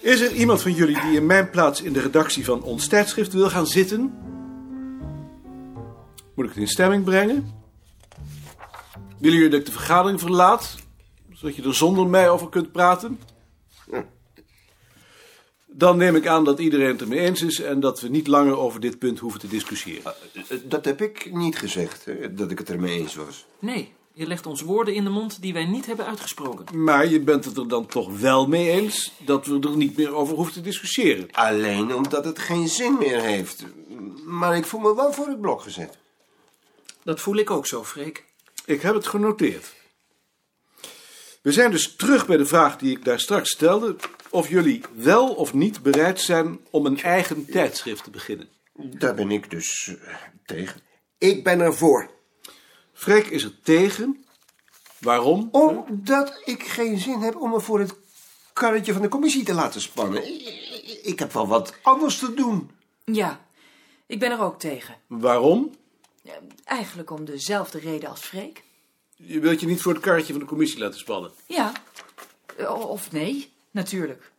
Is er iemand van jullie die in mijn plaats in de redactie van ons tijdschrift wil gaan zitten? Moet ik het in stemming brengen? Willen jullie dat ik de vergadering verlaat? Zodat je er zonder mij over kunt praten? Dan neem ik aan dat iedereen het ermee eens is en dat we niet langer over dit punt hoeven te discussiëren. Eh, Dat heb ik niet gezegd, hè, dat ik het ermee eens was. Nee, je legt ons woorden in de mond die wij niet hebben uitgesproken. Maar je bent het er dan toch wel mee eens dat we er niet meer over hoeven te discussiëren. Alleen omdat het geen zin meer heeft. Maar ik voel me wel voor het blok gezet. Dat voel ik ook zo, Freek. Ik heb het genoteerd. We zijn dus terug bij de vraag die ik daar straks stelde: of jullie wel of niet bereid zijn om een eigen tijdschrift te beginnen. Daar ben ik dus eh, tegen. Ik ben ervoor. Freek is er tegen. Waarom? Omdat ik geen zin heb om me voor het karretje van de commissie te laten spannen. Ik- Ik heb wel wat anders te doen. Ja, ik ben er ook tegen. Waarom? Eigenlijk om dezelfde reden als Freek. Je wilt je niet voor het kaartje van de commissie laten spannen. Ja. Eh, o- Of nee, natuurlijk.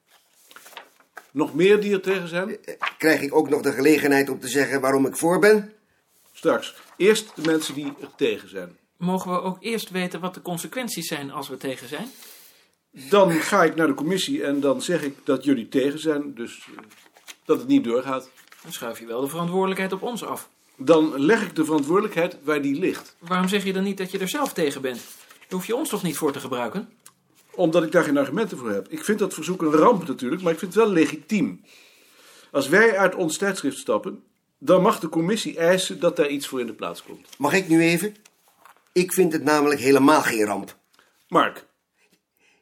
Nog meer die er tegen zijn? Eh, Krijg ik ook nog de gelegenheid om te zeggen waarom ik voor ben? Straks. Eerst de mensen die er tegen zijn. Mogen we ook eerst weten wat de consequenties zijn als we tegen zijn? Dan ga ik naar de commissie en dan zeg ik dat jullie tegen zijn, dus eh, dat het niet doorgaat. Dan schuif je wel de verantwoordelijkheid op ons af. Dan leg ik de verantwoordelijkheid waar die ligt. Waarom zeg je dan niet dat je er zelf tegen bent? Daar hoef je ons toch niet voor te gebruiken? Omdat ik daar geen argumenten voor heb. Ik vind dat verzoek een ramp natuurlijk, maar ik vind het wel legitiem. Als wij uit ons tijdschrift stappen, dan mag de commissie eisen dat daar iets voor in de plaats komt. Mag ik nu even? Ik vind het namelijk helemaal geen ramp. Mark,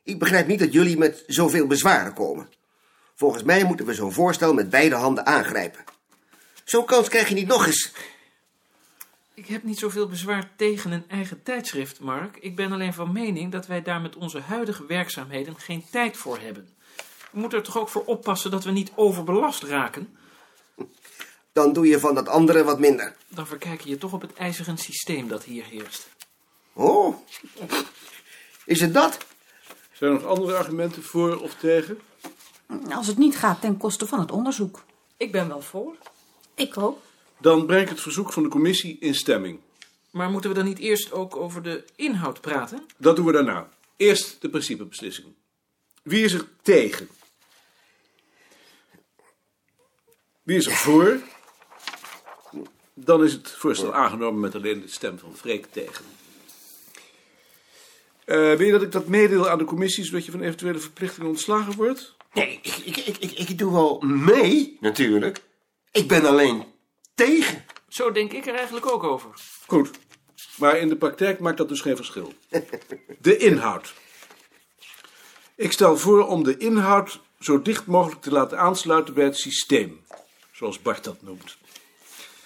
Ik begrijp niet dat jullie met zoveel bezwaren komen. Volgens mij moeten we zo'n voorstel met beide handen aangrijpen. Zo'n kans krijg je niet nog eens. Ik heb niet zoveel bezwaar tegen een eigen tijdschrift, Mark. Ik ben alleen van mening dat wij daar met onze huidige werkzaamheden geen tijd voor hebben. We moeten er toch ook voor oppassen dat we niet overbelast raken? Dan doe je van dat andere wat minder. Dan verkijk je je toch op het ijzeren systeem dat hier heerst. Oh, is het dat? zijn er nog andere argumenten voor of tegen? Als het niet gaat ten koste van het onderzoek. Ik ben wel voor. Ik ook. Dan breng ik het verzoek van de commissie in stemming. Maar moeten we dan niet eerst ook over de inhoud praten? Dat doen we daarna. Eerst de principebeslissing. Wie is er tegen? Wie is er voor? Dan is het voorstel aangenomen met alleen de stem van Freek tegen. Eh, wil je dat ik dat meedeel aan de commissie, zodat je van eventuele verplichtingen ontslagen wordt? Nee, ik, ik, ik, ik, ik doe wel mee, natuurlijk. Ik ben alleen tegen. Zo denk ik er eigenlijk ook over. Goed. Maar in de praktijk maakt dat dus geen verschil. De inhoud. Ik stel voor om de inhoud zo dicht mogelijk te laten aansluiten bij het systeem, zoals Bart dat noemt.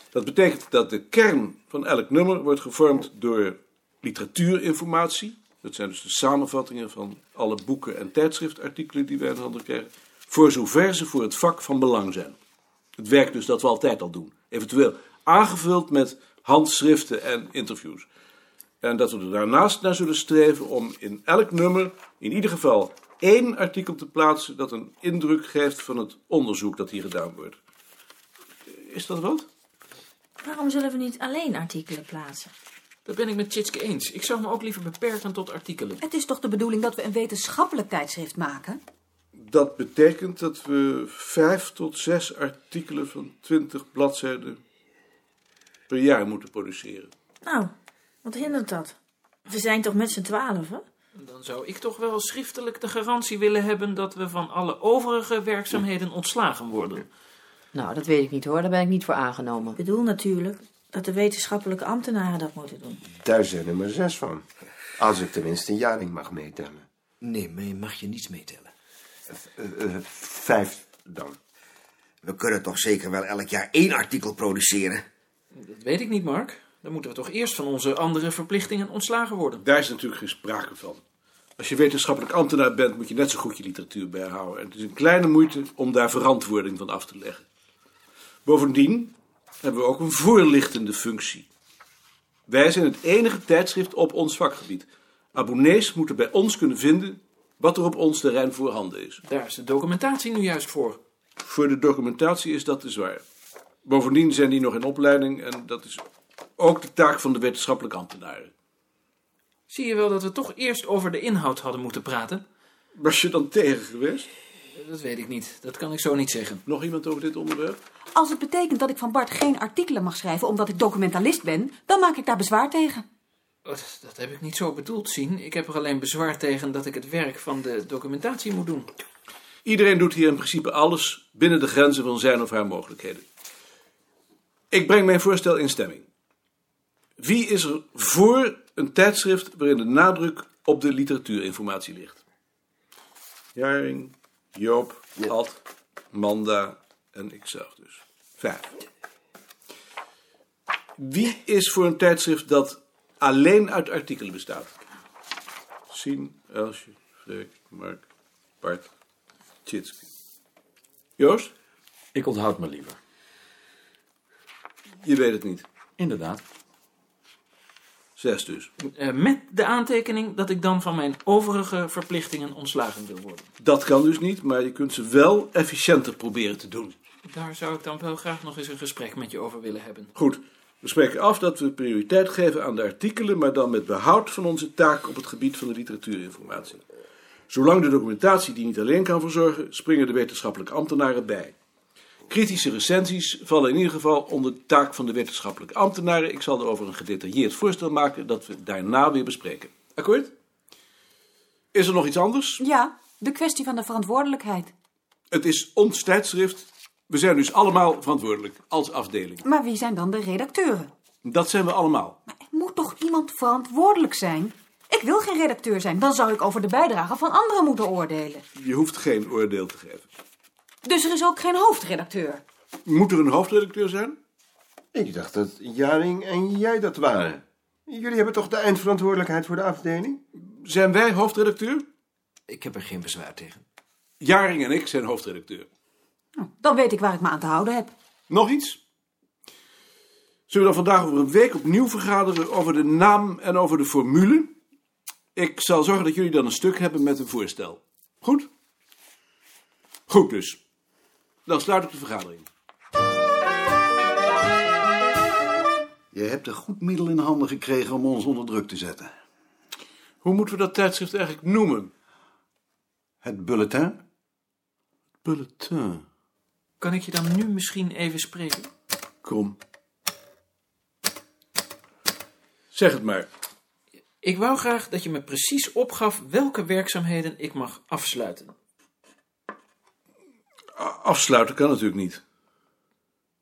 Dat betekent dat de kern van elk nummer wordt gevormd door literatuurinformatie. Dat zijn dus de samenvattingen van alle boeken en tijdschriftartikelen die wij in handen krijgen. Voor zover ze voor het vak van belang zijn. Het werk dus dat we altijd al doen. Eventueel aangevuld met handschriften en interviews. En dat we er daarnaast naar zullen streven om in elk nummer in ieder geval één artikel te plaatsen dat een indruk geeft van het onderzoek dat hier gedaan wordt. Is dat wat? Waarom zullen we niet alleen artikelen plaatsen? Dat ben ik met Tjitske eens. Ik zou me ook liever beperken tot artikelen. Het is toch de bedoeling dat we een wetenschappelijk tijdschrift maken? Dat betekent dat we vijf tot zes artikelen van twintig bladzijden per jaar moeten produceren. Nou, wat hindert dat? We zijn toch met z'n twaalfen? Dan zou ik toch wel schriftelijk de garantie willen hebben dat we van alle overige werkzaamheden ontslagen worden. Nou, dat weet ik niet hoor. Daar ben ik niet voor aangenomen. Ik bedoel natuurlijk dat de wetenschappelijke ambtenaren dat moeten doen. Daar zijn er maar zes van. Als ik tenminste een jaring mag meetellen. Nee, maar je mag je niets meetellen. Eh, eh, vijf dan. We kunnen toch zeker wel elk jaar één artikel produceren? Dat weet ik niet, Mark. Dan moeten we toch eerst van onze andere verplichtingen ontslagen worden. Daar is natuurlijk geen sprake van. Als je wetenschappelijk ambtenaar bent, moet je net zo goed je literatuur bijhouden. En het is een kleine moeite om daar verantwoording van af te leggen. Bovendien hebben we ook een voorlichtende functie. Wij zijn het enige tijdschrift op ons vakgebied. Abonnees moeten bij ons kunnen vinden wat er op ons terrein voorhanden is. Daar is de documentatie nu juist voor. Voor de documentatie is dat te zwaar. Bovendien zijn die nog in opleiding en dat is ook de taak van de wetenschappelijke ambtenaren. Zie je wel dat we toch eerst over de inhoud hadden moeten praten? Was je dan tegen geweest? Dat weet ik niet. Dat kan ik zo niet zeggen. Nog iemand over dit onderwerp? Als het betekent dat ik van Bart geen artikelen mag schrijven omdat ik documentalist ben, dan maak ik daar bezwaar tegen. Oh, Dat, dat heb ik niet zo bedoeld zien. Ik heb er alleen bezwaar tegen dat ik het werk van de documentatie moet doen. Iedereen doet hier in principe alles binnen de grenzen van zijn of haar mogelijkheden. Ik breng mijn voorstel in stemming. Wie is er voor een tijdschrift waarin de nadruk op de literatuurinformatie ligt? Jaring, Joop, Ad, Manda en ikzelf dus. Vijf. Wie is voor een tijdschrift dat alleen uit artikelen bestaat? Sien, Elsje, Freek, Mark, Bart, Tjitske. Joost, Ik onthoud me liever. je weet het niet. Inderdaad. Zes dus. Eh, met de aantekening dat ik dan van mijn overige verplichtingen ontslagen wil worden. Dat kan dus niet, maar je kunt ze wel efficiënter proberen te doen. Daar zou ik dan wel graag nog eens een gesprek met je over willen hebben. Goed, we spreken af dat we prioriteit geven aan de artikelen, maar dan met behoud van onze taak op het gebied van de literatuurinformatie. Zolang de documentatie die niet alleen kan verzorgen, springen de wetenschappelijke ambtenaren bij. Kritische recensies vallen in ieder geval onder de taak van de wetenschappelijke ambtenaren. Ik zal erover een gedetailleerd voorstel maken dat we daarna weer bespreken. Akkoord? Is er nog iets anders? Ja, de kwestie van de verantwoordelijkheid. Het is ons tijdschrift. We zijn dus allemaal verantwoordelijk als afdeling. Maar wie zijn dan de redacteuren? Dat zijn we allemaal. Maar er moet toch iemand verantwoordelijk zijn? Ik wil geen redacteur zijn, dan zou ik over de bijdrage van anderen moeten oordelen. Je hoeft geen oordeel te geven. Dus er is ook geen hoofdredacteur. Moet er een hoofdredacteur zijn? Ik dacht dat Jaring en jij dat waren. Jullie hebben toch de eindverantwoordelijkheid voor de afdeling? Zijn wij hoofdredacteur? Ik heb er geen bezwaar tegen. Jaring en ik zijn hoofdredacteur. Dan weet ik waar ik me aan te houden heb. Nog iets? Zullen we dan vandaag over een week opnieuw vergaderen over de naam en over de formule? Ik zal zorgen dat jullie dan een stuk hebben met een voorstel. Goed? Goed dus. Dan sluit ik de vergadering. Je hebt een goed middel in handen gekregen om ons onder druk te zetten. Hoe moeten we dat tijdschrift eigenlijk noemen? Het bulletin? Bulletin. Kan ik je dan nu misschien even spreken? Kom. Zeg het maar. Ik wou graag dat je me precies opgaf welke werkzaamheden ik mag afsluiten. A- Afsluiten kan natuurlijk niet.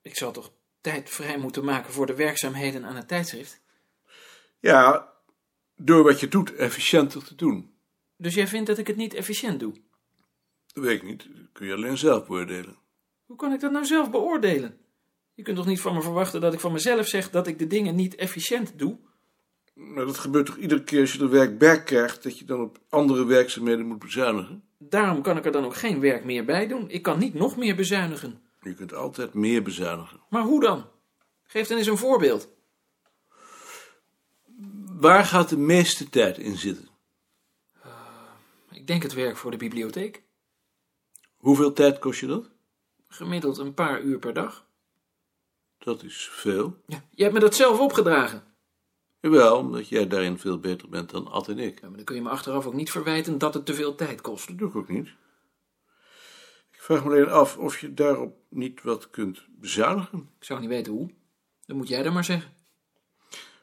Ik zal toch tijd vrij moeten maken voor de werkzaamheden aan het tijdschrift? Ja, door wat je doet efficiënter te doen. Dus jij vindt dat ik het niet efficiënt doe? Dat weet ik niet. Dat kun je alleen zelf beoordelen. Hoe kan ik dat nou zelf beoordelen? Je kunt toch niet van me verwachten dat ik van mezelf zeg dat ik de dingen niet efficiënt doe? Maar dat gebeurt toch iedere keer als je er werk bij krijgt, dat je dan op andere werkzaamheden moet bezuinigen? Daarom kan ik er dan ook geen werk meer bij doen. Ik kan niet nog meer bezuinigen. Je kunt altijd meer bezuinigen. Maar hoe dan? Geef dan eens een voorbeeld. Waar gaat de meeste tijd in zitten? Ik denk het werk voor de bibliotheek. Hoeveel tijd kost je dat? Gemiddeld een paar uur per dag. Dat is veel. Ja, je hebt me dat zelf opgedragen. Jawel, omdat jij daarin veel beter bent dan Ad en ik. Ja, maar dan kun je me achteraf ook niet verwijten dat het te veel tijd kost. Dat doe ik ook niet. Ik vraag me alleen af of je daarop niet wat kunt bezuinigen. Ik zou niet weten hoe. Dan moet jij dat maar zeggen.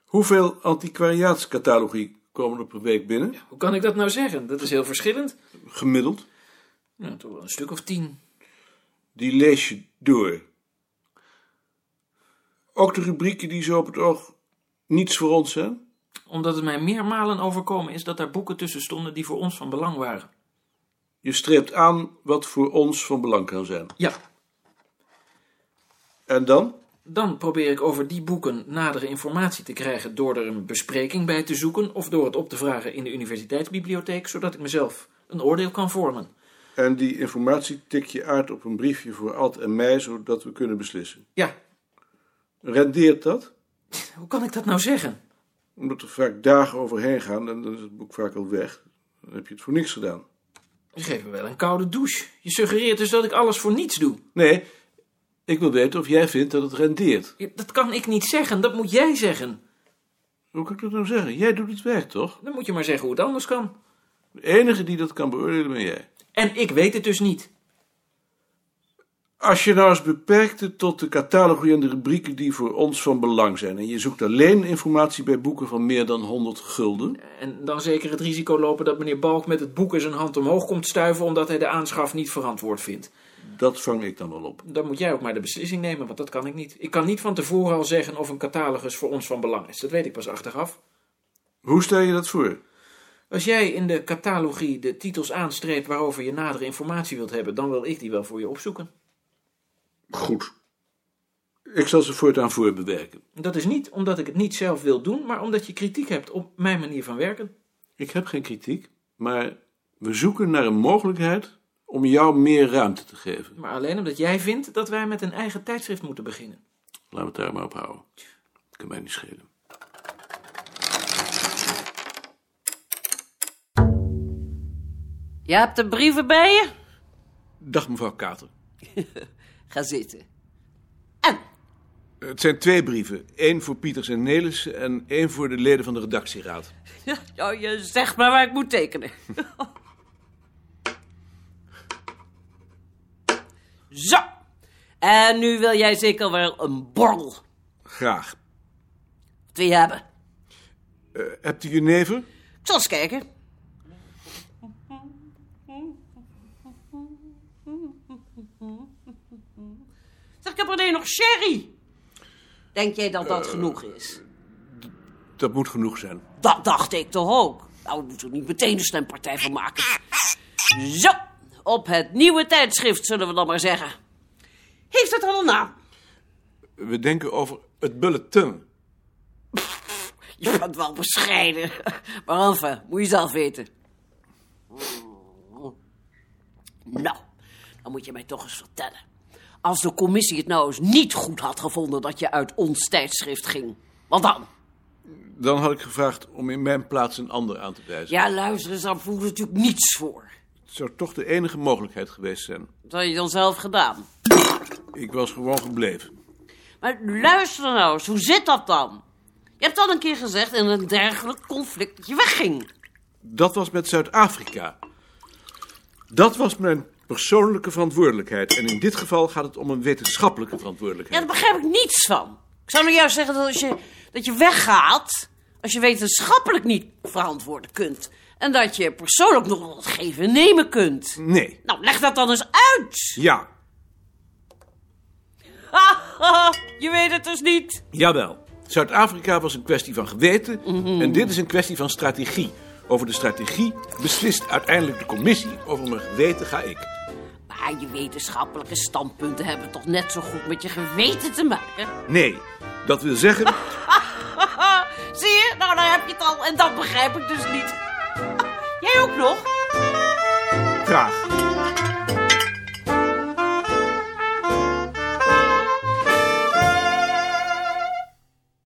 Hoeveel antiquariaatscatalogie komen er per week binnen? Hoe kan ik dat nou zeggen? Dat is heel verschillend. Gemiddeld. Nou, toch wel een stuk of tien. Die lees je door. Ook de rubrieken die zo op het oog niets voor ons zijn. Omdat het mij meermalen overkomen is dat daar boeken tussen stonden die voor ons van belang waren. Je streept aan wat voor ons van belang kan zijn. Ja, En dan? Dan probeer ik over die boeken nadere informatie te krijgen door er een bespreking bij te zoeken of door het op te vragen in de universiteitsbibliotheek, zodat ik mezelf een oordeel kan vormen. En die informatie tik je uit op een briefje voor Ad en mij, zodat we kunnen beslissen. Ja, Rendeert dat? hoe kan ik dat nou zeggen? Omdat er vaak dagen overheen gaan en dan is het boek vaak al weg. Dan heb je het voor niks gedaan. Je geeft me wel een koude douche. Je suggereert dus dat ik alles voor niets doe. Nee, ik wil weten of jij vindt dat het rendeert. Ja, Dat kan ik niet zeggen, dat moet jij zeggen. Hoe kan ik dat nou zeggen? Jij doet het werk, toch? Dan moet je maar zeggen hoe het anders kan. De enige die dat kan beoordelen ben jij. En ik weet het dus niet. Als je nou eens beperkte tot de catalogie en de rubrieken die voor ons van belang zijn... en je zoekt alleen informatie bij boeken van meer dan 100 gulden... En dan zeker het risico lopen dat meneer Balk met het boek in zijn hand omhoog komt stuiven omdat hij de aanschaf niet verantwoord vindt. dat vang ik dan wel op. Dan moet jij ook maar de beslissing nemen, want dat kan ik niet. Ik kan niet van tevoren al zeggen of een catalogus voor ons van belang is. Dat weet ik pas achteraf. Hoe stel je dat voor? Als jij in de catalogie de titels aanstreept waarover je nadere informatie wilt hebben, dan wil ik die wel voor je opzoeken. Goed. Ik zal ze voortaan voorbewerken. Dat is niet omdat ik het niet zelf wil doen, maar omdat je kritiek hebt op mijn manier van werken. Ik heb geen kritiek, maar we zoeken naar een mogelijkheid om jou meer ruimte te geven. Maar alleen omdat jij vindt dat wij met een eigen tijdschrift moeten beginnen. Laten we het daar maar op houden. Dat kan mij niet schelen. Je hebt de brieven bij je? Dag mevrouw Kater. Ga zitten. Het zijn twee brieven. Eén voor Pieters en Nelis en één voor de leden van de redactieraad. Ja, je zegt maar waar ik moet tekenen. Zo. En nu wil jij zeker wel een borrel. Wat Graag. wil je hebben? Eh, hebt u jenever? Ik zal eens kijken. Zeg, ik heb alleen nog sherry. Denk jij dat dat genoeg is? Dat moet genoeg zijn. Dat dacht ik toch ook. Nou, we moeten er niet meteen een stempartij van maken. Zo, op het nieuwe tijdschrift zullen we dan maar zeggen. Heeft dat al een naam? We denken over het bulletin. Je bent wel bescheiden. Maar enfin, moet je zelf weten. Nou, dan moet je mij toch eens vertellen. Als de commissie het nou eens niet goed had gevonden dat je uit ons tijdschrift ging. Wat dan? Dan had ik gevraagd om in mijn plaats een ander aan te wijzen. Ja, luister eens, daar voel ik natuurlijk niets voor. Het zou toch de enige mogelijkheid geweest zijn. Dat had je dan zelf gedaan. Ik was gewoon gebleven. Maar luister nou eens, hoe zit dat dan? Je hebt al een keer gezegd in een dergelijk conflict dat je wegging. Dat was met Zuid-Afrika. Dat was mijn persoonlijke verantwoordelijkheid. En in dit geval gaat het om een wetenschappelijke verantwoordelijkheid. Ja, daar begrijp ik niets van. Ik zou nou juist zeggen dat als je, dat je weggaat, als je wetenschappelijk niet verantwoorden kunt. En dat je persoonlijk nog wel wat geven en nemen kunt. Nee. Nou, leg dat dan eens uit. Ja, je weet het dus niet. jawel. Zuid-Afrika was een kwestie van geweten. En dit is een kwestie van strategie. Over de strategie beslist uiteindelijk de commissie. Over mijn geweten ga ik. Maar je wetenschappelijke standpunten hebben toch net zo goed met je geweten te maken? Nee, dat wil zeggen. Zie je? Nou, daar heb je het al. En dat begrijp ik dus niet. Jij ook nog? Graag.